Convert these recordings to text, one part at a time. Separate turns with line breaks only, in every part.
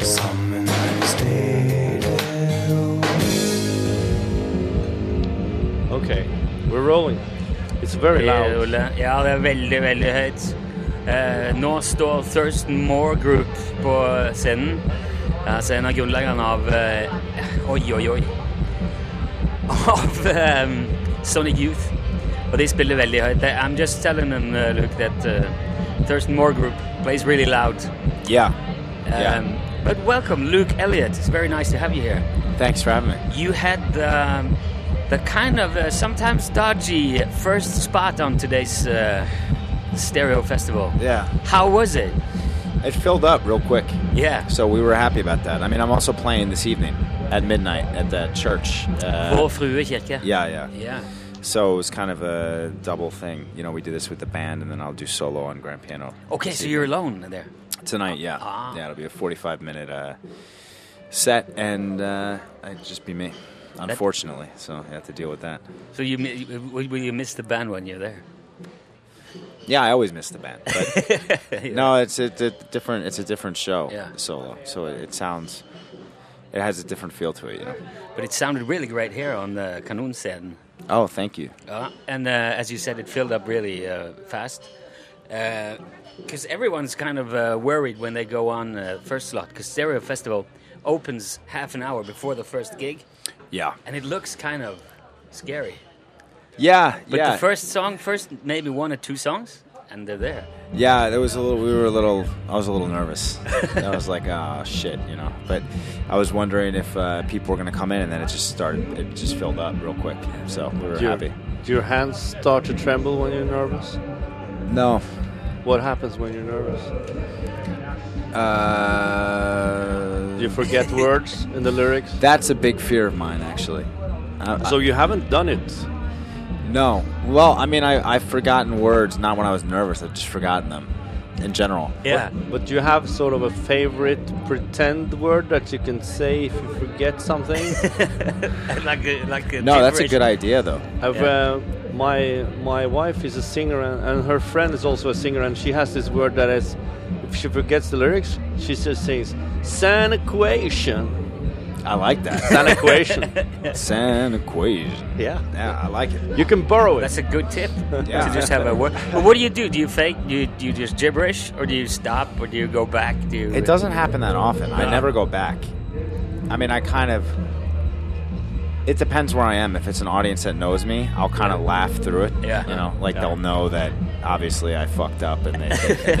Sammen er vi stereo.
Okay, we're rolling. It's very
Eh,
loud.
Ole. Ja, det er veldig, veldig høyt. Eh, nå står Thurston Moore Group på scenen. Altså en av grunnleggerne av eh, Oi, oi, oi. Av eh, Sonic Youth. Og de spiller veldig høyt. Det- er, I'm just telling them, eh, Luke, that eh, Thurston Moore Group plays really loud.
Yeah.
Um, But welcome, Luke Elliott. It's very nice to have you here.
Thanks for having me.
You had the, the kind of uh, sometimes dodgy first spot on today's uh, stereo festival.
Yeah.
How was it?
It filled up real quick.
Yeah.
So we were happy about that. I mean, I'm also playing this evening at midnight at the church.
Vår
Uh,
Frue kirke.
yeah, yeah.
Yeah.
So it was kind of a double thing. You know, we do this with the band, and then I'll do solo on grand piano.
Okay,
this
so
evening.
you're alone there.
tonight. Yeah,
Ah.
yeah. It'll be a 45 minute uh, set, and uh, it'd just be me, unfortunately. So I have to deal with that.
So you mi- will will you miss the band when you're there?
Yeah, I always miss the band. But No, it's a, di- different. It's a different show
Yeah.
solo, so it, it sounds. It has a different feel to it, you know.
But it sounded really great here on the Kanunsen.
Oh, thank you.
Uh, and uh, as you said, it filled up really uh, fast. Because everyone's kind of uh, worried when they go on uh, first slot, because Stereo Festival opens half an hour before the first gig,
Yeah,
and it looks kind of scary.
yeah,
But
yeah.
the first song, first maybe one or two songs, and they're there.
Yeah, there was a little. We were a little. I was a little nervous. I was like, "Ah, shit," you know. But I was wondering if uh, people were going to come in, and then it just started. It just filled up real quick. So we were
do, your,
happy.
do your hands start to tremble when you're nervous?
No,
What happens when you're nervous?
uh,
Do you forget words in the lyrics?
that's a big fear of mine, actually. I,
So you haven't done it.
No. Well, I mean, I, I've forgotten words, not when I was nervous, I've just forgotten them in general.
Yeah.
But you have sort of a favorite pretend word that you can say if you forget something.
like a, like a
No, that's a
gibberish.
good idea, though.
I've, uh, my my wife is a singer and, and her friend is also a singer and she has this word that is if she forgets the lyrics she just sings san equation
I like that.
san equation
San equation.
yeah
Yeah, I like it.
you can borrow it
That's a good tip
Yeah.
to just have a word. But what do you do? Do you fake? Do you, do you just gibberish, or do you stop, or do you go back? Do you?
It doesn't happen that often. I never go back. I mean, I kind of. It depends where I am. If it's an audience that knows me, I'll kind of laugh through it.
Yeah.
You know, like
Yeah.
they'll know that obviously I fucked up and they, and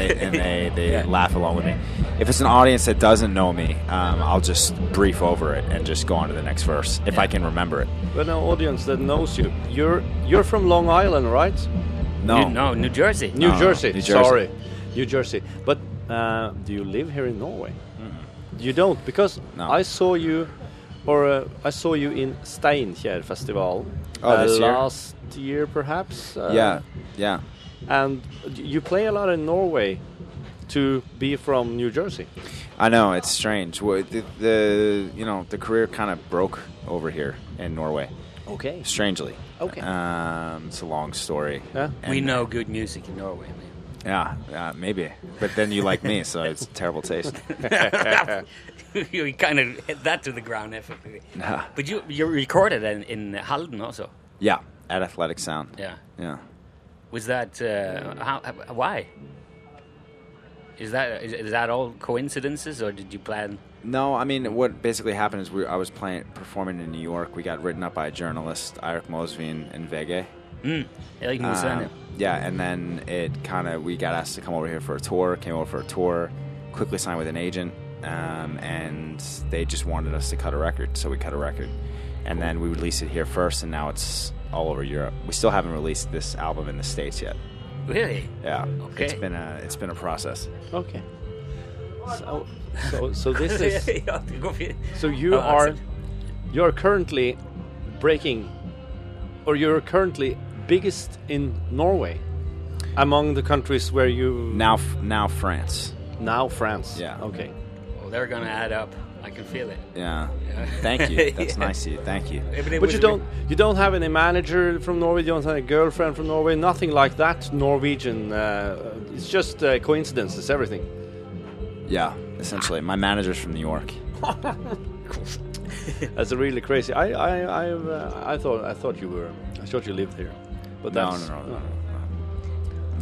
they, and they, they
Yeah.
laugh along with me. If it's an audience that doesn't know me, um, I'll just brief over it and just go on to the next verse if I can remember it.
but an audience that knows you you're you're from long island right
No.
New, no, New Jersey.
new,
No,
jersey.
New Jersey.
sorry new jersey but uh, do you live here in norway you don't because
Mm-hmm. No.
i saw you or uh, I saw you in Steinkjer Festival
Oh,
uh,
this year?
last year, perhaps. Uh,
Yeah. Yeah.
And you play a lot in Norway to be from New Jersey.
I know it's strange. Wha- The, the you know the career kind of broke over here in Norway.
Okay.
strangely.
Okay.
Um, it's a long story.
Yeah.
And-
We know good music in Norway. man.
Yeah, uh, maybe. But then you like me, so it's terrible taste.
you kind of hit that to the ground effectively.
Nah.
But you you recorded in, in Halden also.
Yeah, at Athletic Sound.
Yeah.
Yeah.
Was that uh, how? uh, Why? Is that is, is that all coincidences or did you plan?
No, I mean, what basically happened is we, I was playing performing in New York. We got written up by a journalist, Eirik Mosveen, in Vege.
Yeah, you can
Um,
sign it.
yeah, and then it kind of we got asked to come over here for a tour. Came over for a tour, quickly signed with an agent, um, and they just wanted us to cut a record, so we cut a record, and then we released it here first, and now it's all over Europe. We still haven't released this album in the states yet.
Really?
Yeah,
Okay.
it's been a it's been a process.
Okay. So, so, so this is. So you
Oh,
are,
that's it.
you are currently breaking, or you're currently biggest in Norway, among the countries where you
Now, f- now France.
now France.
Yeah.
Okay.
Well, they're gonna add up. I can feel it.
Yeah.
Yeah.
Thank you. That's
Yeah.
nice of you. Thank you.
Even
But
it was
you
a
don't you don't have any manager from Norway. You don't have a girlfriend from Norway. Nothing like that. Norwegian. Uh, it's just uh, coincidences. Everything.
Yeah. Essentially, my manager's from New York.
That's really crazy. I I I, uh, I thought I thought you were I thought you lived here, but
No,
that's
no, no, no, no,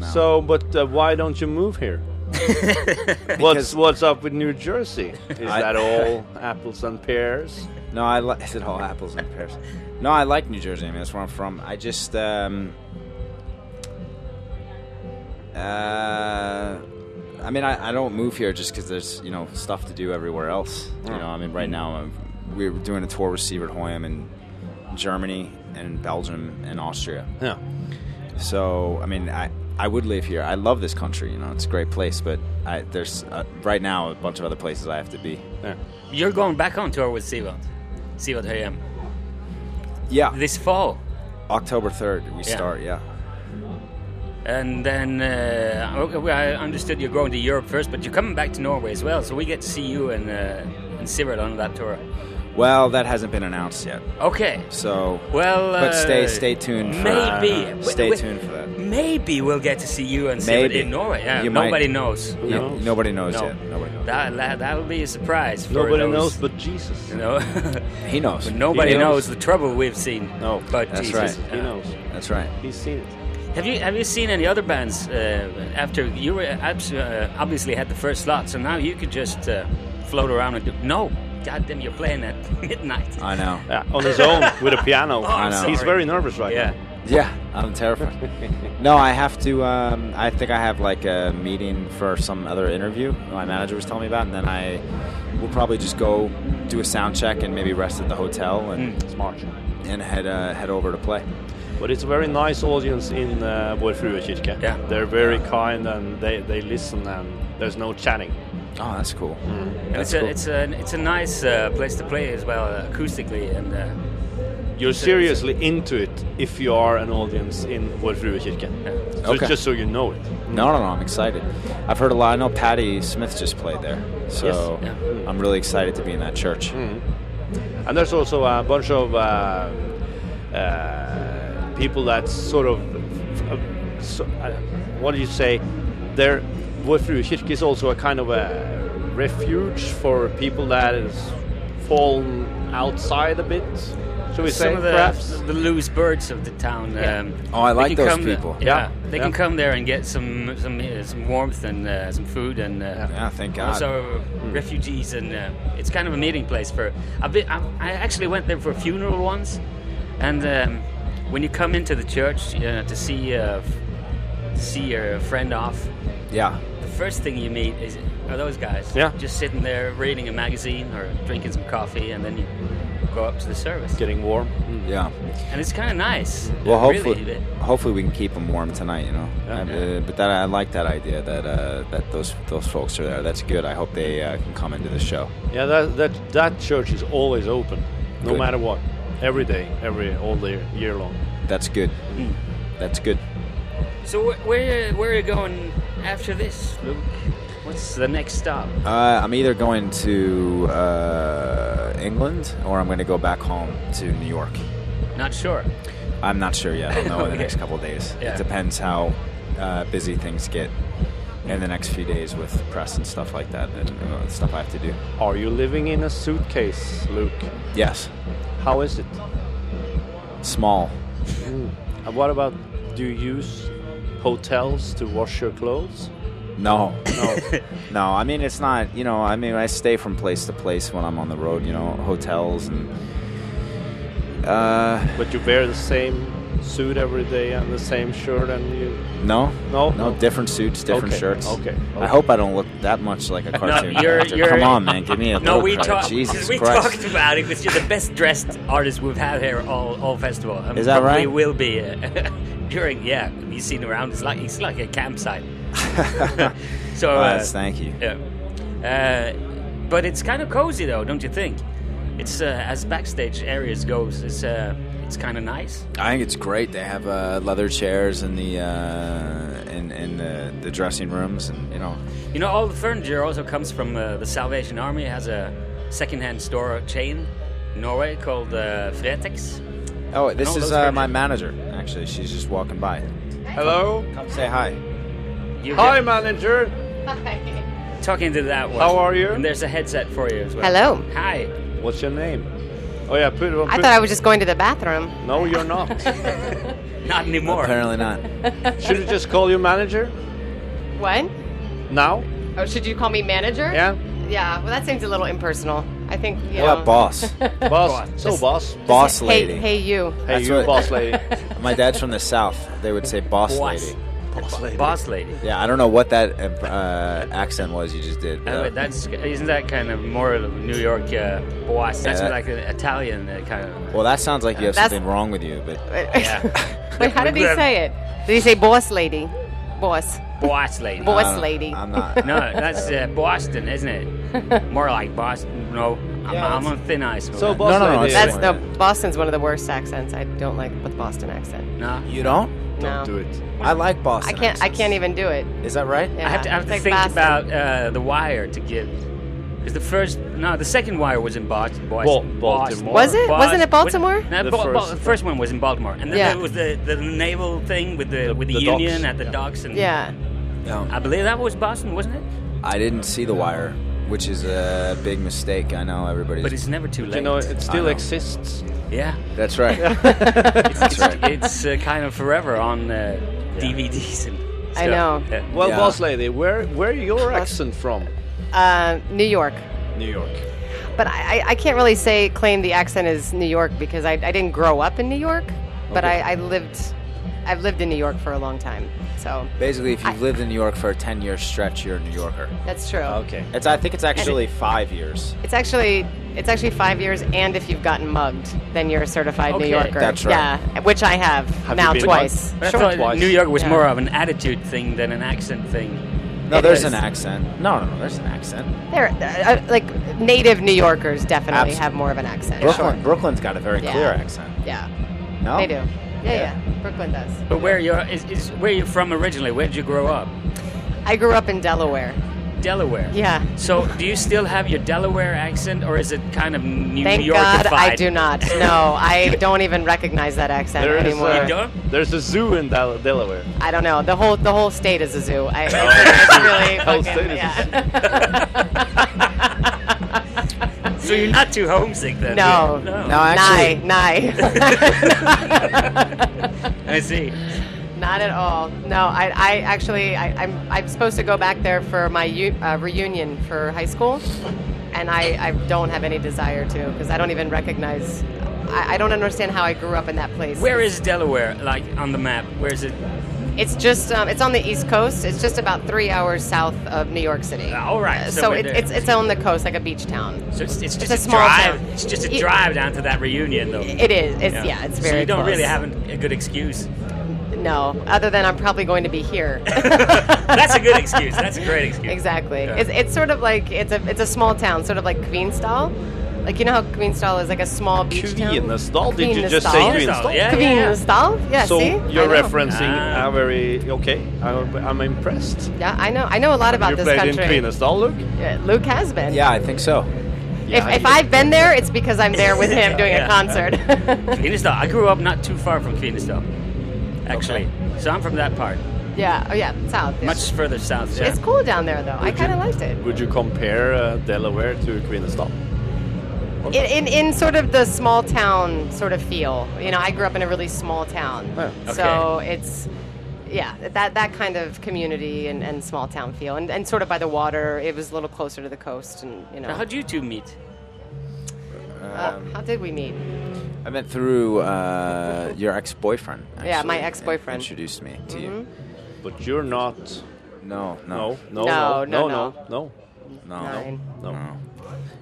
no.
So, but uh, why don't you move here? what's
Because-
what's up with New Jersey? Is
I-
that all apples and pears?
No, I like. Is it all apples and pears? No, I like New Jersey. I mean, that's where I'm from. I just. Um, uh, I mean, I, I don't move here just because there's you know stuff to do everywhere else. You know, I mean, right now I'm, we're doing a tour with Siebert Hoyam in Germany and Belgium and Austria.
Yeah.
So I mean, I I would live here. I love this country. You know, it's a great place. But I, there's uh, right now a bunch of other places I have to be.
yeah.
You're going back on tour with Sivert. Sivert Høyem.
Yeah,
This fall.
October third we
Yeah.
start. Yeah.
And then, uh, okay, well, I understood you're going to Europe first, but you're coming back to Norway as well, so we get to see you and, uh, and Sivert on that tour.
Well, that hasn't been announced yet.
Okay.
So,
Well,
but stay
uh,
stay tuned. For, uh,
Maybe. Wait,
stay
wait.
tuned for that.
Maybe we'll get to see you and Sivert
Maybe.
in Norway. Yeah,
You might.
nobody knows.
Who
Yeah,
knows?
nobody knows
No.
yet. Nobody knows.
That, that that'll be a surprise. For
Nobody
those,
knows but Jesus.
you know.
he knows.
but nobody
He
knows. the trouble we've seen.
No,
but
that's
Jesus.
right.
He
Yeah.
knows.
That's right.
He's seen it.
Have you have you seen any other bands uh, after you were abs- uh, obviously had the first slot, so now you could just uh, float around and do no, goddamn, you're playing at midnight.
I know.
Yeah, on his own with a piano.
I'm
know.
He's
sorry.
very nervous right
yeah.
Yeah, I'm terrified. no, I have to. Um, I think I have like a meeting for some other interview. My manager was telling me about, and then I will probably just go do a sound check and maybe rest at the hotel and
Hmm.
now. Smart.
and head uh, head over to play.
But it's a very nice audience in uh, Vår Frue Kirke.
Yeah.
They're very kind and they, they listen and there's no chatting.
Oh, that's cool.
And Hmm. it's
That's
a
cool.
it's a it's a nice uh, place to play as well uh, acoustically and uh,
You're
So-
seriously into it if you are an audience in Vår Frue Kirke. So
Okay.
just so you know it.
No, no, no! I'm excited. I've heard a lot. I know Patty Smith just played there, so
Yes,
yeah.
I'm really excited to be in that church.
And there's also a bunch of uh, uh, people that sort of, uh, so, uh, what do you say? Their Vår Frue Kirke is also a kind of a refuge for people that is fallen outside a bit. Should we say
some of the
perhaps?
the loose birds of the town. Um,
Oh, I
they can
like those
come-
people.
Yeah,
Yeah.
they
Yeah.
can come there and get some some uh, some warmth and uh, some food and uh,
Yeah, thank God.
also
Hmm.
refugees and uh, it's kind of a meeting place for I've been, I, I actually went there for a funeral once and um, when you come into the church uh, to see uh, f- to see your friend off
yeah,
the first thing you meet is are those guys
Yeah.
just sitting there reading a magazine or drinking some coffee and then you go up to the service
Getting warm. Hmm.
yeah.
and it's kind of nice
Well,
Really,
hopefully,
it-
hopefully we can keep them warm tonight. You know,
Yeah.
Uh, but that I like that idea that uh, that those those folks are there. That's good. I hope they uh, can come into the show.
Yeah, that, that, that church is always open, no
Good.
matter what. Every day, every all day, year long.
That's good. That's good.
so wh- where where are you going after this Luke what's the next stop
Uh, I'm either going to uh, England or I'm going to go back home to New York.
not sure
I'm not sure yet. I'll know in the
Okay.
next couple of days.
Yeah.
It depends how uh, busy things get in the next few days with press and stuff like that and uh, stuff I have to do.
Are you living in a suitcase, Luke?
Yes,
How is it?
small.
And Uh, what about do you use hotels to wash your clothes?
No,
No.
No, I mean it's not. You know, I mean I stay from place to place when I'm on the road. You know, hotels and. Uh,
but you wear the same suit every day and the same shirt and you
no,
No?
no, different suits, different
Okay,
shirts.
okay, okay.
I hope I don't look that much like a cartoon
you're-
character.
you're-
Come on, man, give me a
No,
little
we
credit.
talked.
Jesus
we
Christ.
talked about it because you're the best dressed artist we've had here all all festival. And
Is that
probably
right?
Will be uh, during. Yeah, you seen around. It's like it's like a campsite. so
Oh,
uh,
yes, thank you.
yeah. Uh, but it's kind of cozy though, don't you think? It's uh, as backstage areas goes. It's uh, it's kind of nice.
I think it's great. They have uh, leather chairs in the uh, in in the, the dressing rooms, and you know,
You know, all the furniture also comes from uh, the Salvation Army. It has a secondhand store chain in Norway called uh, Fretex.
Oh, this
No,
is
those
uh,
are-
my manager. Actually, she's just walking by.
Hello.
Come say hi.
You
Hi,
get-
manager.
talking to that one.
How are you?
And there's a headset for you as well.
Hello.
Hi.
What's your name? Oh yeah, put. put
I thought I was just going to the bathroom.
No, you're not.
Not anymore.
Apparently not.
Should I just call you manager
What?
now?
Oh, should you call me manager?
Yeah,
Yeah. Well, that seems a little impersonal. I think. You
What
know,
up, boss?
boss. so boss.
boss lady.
Hey, hey, you.
Hey,
That's
you,
what-
boss lady.
My dad's from the south. They would say boss,
Boss.
lady.
boss lady.
Boss lady.
Yeah, I don't know what that uh, accent was you just did.
Oh,
but-
wait, that's isn't that kind of more of a New York uh, boss? That's
Yeah.
like an Italian uh, kind of.
well, that sounds like you have
That's-
something wrong with you, but
Yeah.
Wait, how did he say it? Did he say boss lady? Boss.
boss lady.
Boss.
I don't-
lady.
uh, I'm not.
No, that's uh, Boston, isn't it? More like Boston. No, I'm,
Yeah,
I'm on thin ice. with
So
that.
boss
No, no, no,
lady.
it's-
That's no. Boston's one of the worst accents. I don't like the Boston accent.
No,
You don't?
No.
Don't do it.
I like Boston.
I can't. I
accents.
can't even do it.
Is that right?
Yeah.
I have to, I have
it's
to
like
think
Boston.
about uh, the wire to give. Because the first, no, the second wire was in Bos- Boston. Boston.
Baltimore.
Was it? Wasn't it
Bos-
Baltimore?
no,
The
Ba- Ba-
first-
the first one was in Baltimore, and then
Yeah.
there was the, the naval thing with the with the,
the docks.
Union at the docks, and
Yeah.
No.
I believe that was Boston, wasn't it?
I didn't see The Wire, which is a big mistake. I know everybody's.
But it's never too late. Uh,
You know, it
I
still
know.
exists.
yeah,
That's right.
it's,
right.
it's uh, kind of forever on uh, DVDs and. Stuff.
I know.
Yeah.
Well,
Yeah.
boss lady, where where your accent from?
Uh, New York.
New York.
But I, I- I can't really say claim the accent is New York because I, I didn't grow up in New York, but
Okay.
I, I lived I've lived in New York for a long time. So
Basically, if you've lived in New York for a 10 year stretch, you're a New Yorker.
that's true.
Okay.
It's, I think it's actually five years.
It's actually it's actually five years, and if you've gotten mugged, then you're a certified
Okay.
New Yorker.
That's right.
Yeah, which I have,
Have
now
you been
twice.
mugged?
But I
Sure.
thought
Twice.
New York was
Yeah.
more of an attitude thing than an accent thing.
No,
It
there's
is.
an accent. No, no, no, there's an accent.
There, uh, uh, like native New Yorkers definitely
Absolutely.
have more of an accent.
Brooklyn, Brooklyn's got a very
Yeah.
clear accent.
Yeah,
No,
they do. Yeah, yeah, Brooklyn does.
But where you're is, is where you're from originally? Where did you grow up?
I grew up in Delaware.
Delaware.
Yeah.
So do you still have your Delaware accent, or is it kind of New
Thank
Yorkified?
God I do not. No, I don't even recognize that accent
There is
anymore.
a,
You don't?
there's a zoo in Del- Delaware.
I don't know. The whole the whole state is a zoo. I, it's, it's really
Oh, Whole state
fucking,
is a
yeah.
So you're not too homesick then?
No.
No.
No, actually-
Nye, nye.
I see.
Not at all. No, I, I actually, I, I'm, I'm supposed to go back there for my u- uh, reunion for high school, and I, I don't have any desire to because I don't even recognize. I, I don't understand how I grew up in that place.
Where is Delaware? Like on the map? Where is it?
It's just, um, it's on the East Coast. It's just about three hours south of New York City.
Ah, all right,
Uh,
so
So
we're
it,
there.
it's, it's on the coast, like a beach town.
So it's, it's just
a
a,
small
drive.
town.
It's just a
Y-
drive down to that reunion, though.
It is. It's, yeah. it's very.
So you don't
close.
really have an, a good excuse.
No, other than I'm probably going to be here.
That's a good excuse. That's a great excuse.
Exactly.
Yeah.
It's, it's sort of like it's a it's a small town, sort of like Queenstall. Like you know how Queenstall is like a small beach town.
Queenestad? Did you just say
Queenestad.
Queenestad?
Yeah, yeah, yeah.
Queenstall. Yeah.
so
see,
you're
I know.
referencing
Ah.
a very okay. I'm, I'm impressed.
Yeah, I know. I know a lot about
you
this
played
country.
in Queenestad, Luke.
Yeah, Luke has been.
Yeah, I think so.
Yeah,
if if
you-
I've been there, it's because I'm there with him doing
Yeah.
a concert.
Queenstown. I grew up not too far from Queenstown, actually. So I'm from that part,
yeah. Oh yeah. South. yeah.
much further south. Yeah.
It's cool down there though. I kind of liked it.
Would you compare uh, Delaware to Queenestad?
in, in, in sort of the small town sort of feel. You know, I grew up in a really small town.
Oh,
okay.
So it's, yeah, that, that kind of community and, and small town feel. And, and sort of by the water, it was a little closer to the coast. And, you know,
Now, how'd you two meet?
how, how did we meet?
I met through uh, your ex-boyfriend.
Yeah, my
actually,
ex-boyfriend. Mm-hmm.
introduced me to you.
But you're not.
No, no,
No, no,
No,
no, no,
no,
no, no.
no,
Nine.
no.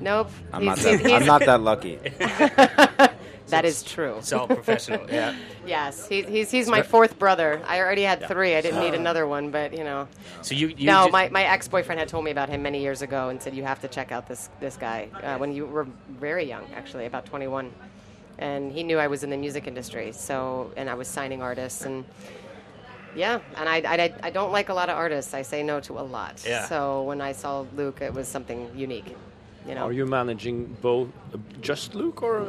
Nope.
I'm not
He's-
that.
he's-
I'm not that lucky.
that is true.
It's all professional. Yeah.
Yes, he, he's, he's my fourth brother. I already had three. I didn't need another one, but, you know.
So you, you
no,
just-
my, my ex boyfriend had told me about him many years ago and said you have to check out this this guy uh, when you were very young, actually about 21, and he knew I was in the music industry, so and I was signing artists and yeah, and I, I, I don't like a lot of artists. I say no to a lot.
Yeah.
So when I saw Luke, it was something unique. You know.
Are you managing both uh, just Luke or uh,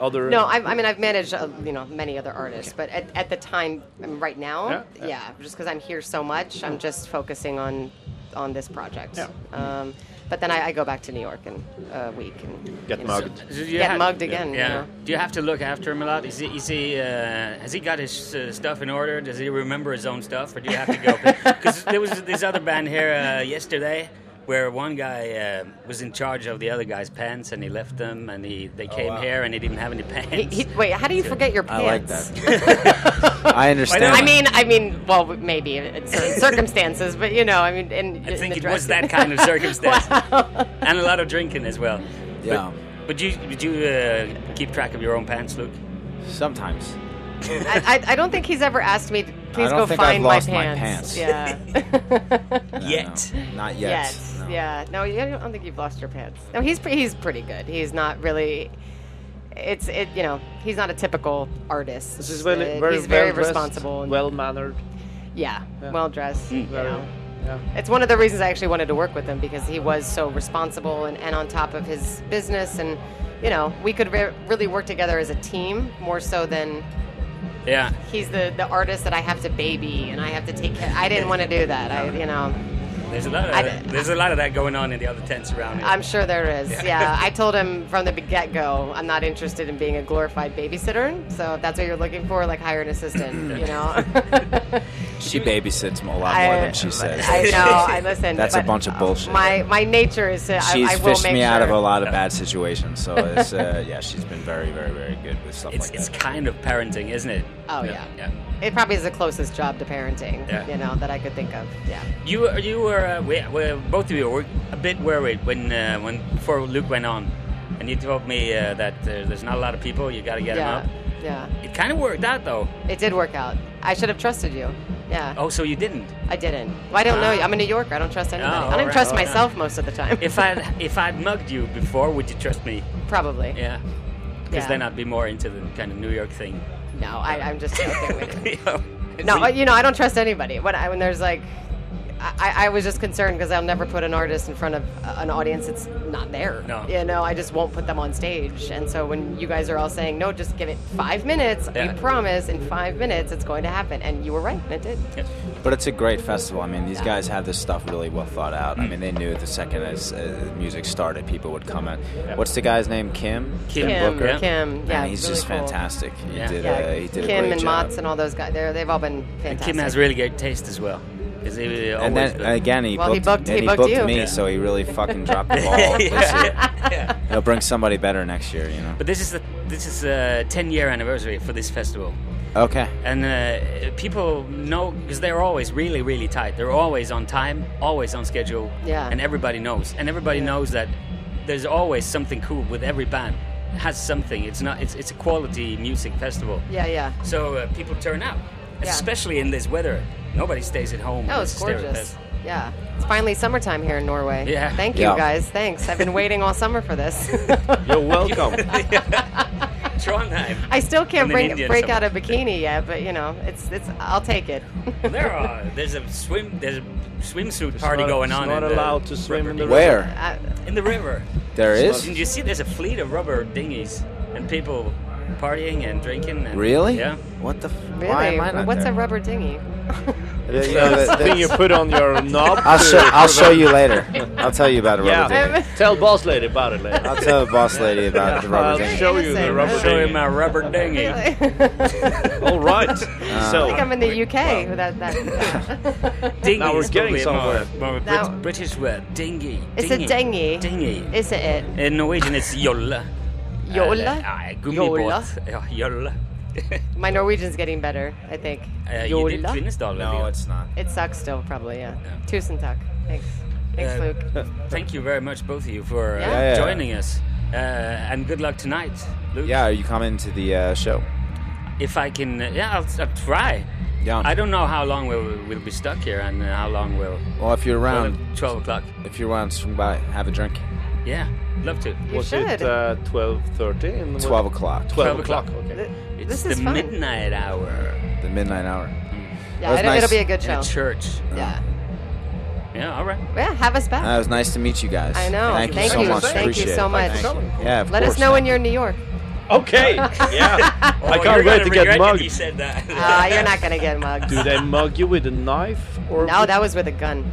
other?
No, I've, I mean I've managed uh, you know many other artists, but at, at the time, I mean, right now,
Yeah,
yeah,
yeah.
just because I'm here so much, I'm just focusing on on this project.
Yeah.
Um, but then I, I go back to New York in a week and
Get
you know,
mugged.
Do you
get
have-
mugged again.
Yeah.
You know?
Do you have to look after him a lot? Is he, is he uh, has he got his uh, stuff in order? Does he remember his own stuff, or do you have to go? Because there was this other band here uh, yesterday where one guy uh, was in charge of the other guy's pants, and he left them, and he they came here and he didn't have any pants.
He- he- wait, how do you forget your
I like
pants?
that. I understand.
I mean, I mean, well, maybe in certain circumstances, but you know, I mean, in,
I
in
think
the
it was
dress-
that kind of circumstance,
Wow.
and a lot of drinking as well. But,
Yeah.
but you did you uh, keep track of your own pants, Luke?
sometimes.
I, I, I don't think he's ever asked me. To, please
don't
go
think I've
find
lost my
my pants.
pants.
Yeah.
No,
Yet.
no, not yet.
yet.
No.
Yeah. No, you- I don't think you've lost your pants. No, he's pre- he's pretty good. He's not really. It's it. You know, he's not a typical artist.
This is very,
Uh,
very,
he's very
well-dressed,
responsible. and-
well mannered.
yeah,
yeah. Mm.
well dressed. You
Very,
know.
yeah.
It's one of the reasons I actually wanted to work with him because he was so responsible and, and on top of his business. And, you know, we could re- really work together as a team more so than
Yeah.
he's the, the artist that I have to baby and I have to take care. I didn't want to do that. I, you know,
There's a lot of
I-
there's a lot of that going on in the other tents around here.
I'm sure there is. Yeah. I told him from the get go, I'm not interested in being a glorified babysitter. So if that's what you're looking for, like hire an assistant, you know?
She babysits a lot more than she says.
I know. I listen.
That's a
but
bunch of bullshit.
My my nature is to.
she's
I, I will
fished
make
me
sure.
out of a lot of bad situations. So it's, uh, yeah, she's been very, very, very good with stuff
It's
like
it's
that.
kind of parenting, isn't it?
Oh, yeah.
yeah.
It probably is the closest job to parenting,
Yeah.
you know, that I could think of. Yeah.
You were- you were uh, we, we, both of you were a bit worried when uh, when before Luke went on, and you told me uh, that uh, there's not a lot of people. You got to get
yeah.
them
Yeah.
up. It kind of worked out though.
It did work out. I should have trusted you. Yeah.
Oh, Ah. so you didn't.
I didn't. Well, I don't know you. I'm a New Yorker. I don't trust anybody. I don't
alright,
trust
alright.
myself most of the time.
If I if I'd mugged you before, would you trust me?
probably.
Yeah. Because
Yeah.
then I'd be more into the kind of New York thing.
No, I, I'm just joking with you.
no,
No, you know, I don't trust anybody. When I when there's like, I, I was just concerned because I'll never put an artist in front of an audience that's not there.
No.
You know, I just won't put them on stage. And so when you guys are all saying no, just give it five minutes.
Yeah.
You promise in five minutes it's going to happen, and you were right, and it did.
But it's a great festival. I mean, these guys had this stuff really well thought out. I
Mm.
mean, they knew the second as uh, music started, people would come in. What's the guy's name? Kim.
Kim,
Kim,
Booker.
Kim, yeah,
Man, he's
really
just
cool.
fantastic. He
Yeah.
did.
Yeah,
Uh, he did a
Kim
great
and
job.
Motz and all those guys. They're, they've all been fantastic.
Kim has really good taste as well. 'Cause he always
And then
good.
again, he
Well, he
booked,
booked-
and
he
he
booked
booked
you.
me,
Yeah.
so he really fucking dropped the ball. this year. He'll bring somebody better next year, you know.
But this is the this is a 10 year anniversary for this festival,
Okay.
and uh, people know because they're always really really tight. They're always on time, always on schedule.
Yeah.
And everybody knows, and everybody knows that there's always something cool with every band. It has something. It's not. It's it's a quality music festival.
Yeah, yeah.
So uh, people turn out,
Yeah.
especially in this weather. Nobody stays at home.
That was
It's hysteria
gorgeous.
fest.
Yeah. It's finally summertime here in Norway.
Yeah.
Thank you
Yeah.
guys. Thanks. I've been waiting all summer for this.
You're welcome.
Trondheim.
I still
And
can't
then
bring,
Indian
break
summer.
out a bikini yet, but you know, it's it's I'll take it.
There are. There's a swim. There's a swimsuit
It's
party
not-
going
it's
on.
not
in the
allowed to swim
rubber
in the
dinghy.
Where
I,
In the river.
there is
Did you see? There's a fleet of rubber dinghies and people partying and drinking. And,
really?
Yeah.
What the? F-
really?
Why am I not
What's
there?
a rubber dinghy?
You know,
That's the
that-
thing you put on your knob.
I'll
to
show. I'll
prevent-
show you later. I'll tell you about a rubber
Yeah.
dinghy.
Tell boss lady about it later.
I'll tell the boss lady about the
I'll
rubber dinghy.
show you the
Innocent.
rubber
Show him
dinghy.
my rubber dinghy.
I think
All right.
Uh,
so
I'm in the UK without that.
Dinghy.
Now we're
is
getting
probably
somewhere.
More, more
Now-
Brit- British word. Dinghy.
It's a dinghy.
Dinghy.
Is it it?
In Norwegian, it's jolle. Uh,
Jolle?
Eller, nej, gummibåt. Uh, Ja, jolle.
My Norwegian's getting better, I think.
Eh,
Jolla?
Judith Kvinesdal. vet
No,
jag.
it's not.
It sucks still, probably. Yeah.
Yeah.
Tusen tak. Thanks. Thanks,
Uh,
Luke.
Thank you very much, both of you, for uh,
Yeah. Yeah,
yeah.
joining us. Uh, and good luck tonight, Luke.
Yeah, are you coming to the uh, show?
If I can, uh, yeah, I'll, I'll try.
Yeah.
I don't know how long we'll, we'll be stuck here and uh, how long we'll.
Well, if you're
Um,
around,
12 o'clock.
if you're around, swing by, have a drink.
Yeah, love to.
You
was
should.
it uh, twelve thirty?
Twelve o'clock,
12
12
o'clock.
o'clock.
Okay.
It's
this
the
is fun.
midnight hour
the midnight hour.
yeah,
was
it'll, it'll
nice.
be a good
in
show.
a church.
Yeah.
Yeah, all right. Oh,
Yeah, have us back.
Uh, it was nice to meet you guys.
I know.
Thank,
Thank
you so
you.
much.
Thank you
Appreciate
so
it.
much.
Thank you. Yeah, of
Let us
course.
know when
Thank
you're in New York.
Okay. Yeah.
Oh,
I can't wait
you're gonna
to get
regret that
mugged.
He said that.
Uh, you're not gonna get mugged.
Do they mug you with a knife or?
No,
with-
that was with a gun.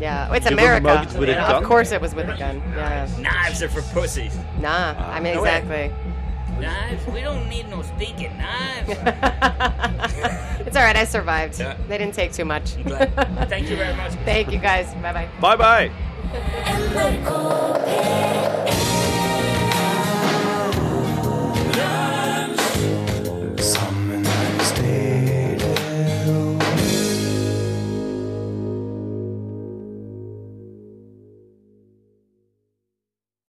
Yeah, oh, it's
You were
America.
mugged with a gun?
Of course, it was with a gun. Yeah.
Knives are for pussies.
Nah, I mean
Ah, No way.
exactly.
Knives? We don't need no stinking knives.
it's all right. I survived.
Yeah.
They didn't take too much.
Glad. Thank you very much.
Thank you guys. Bye bye.
Bye bye.
El puerco Pérez.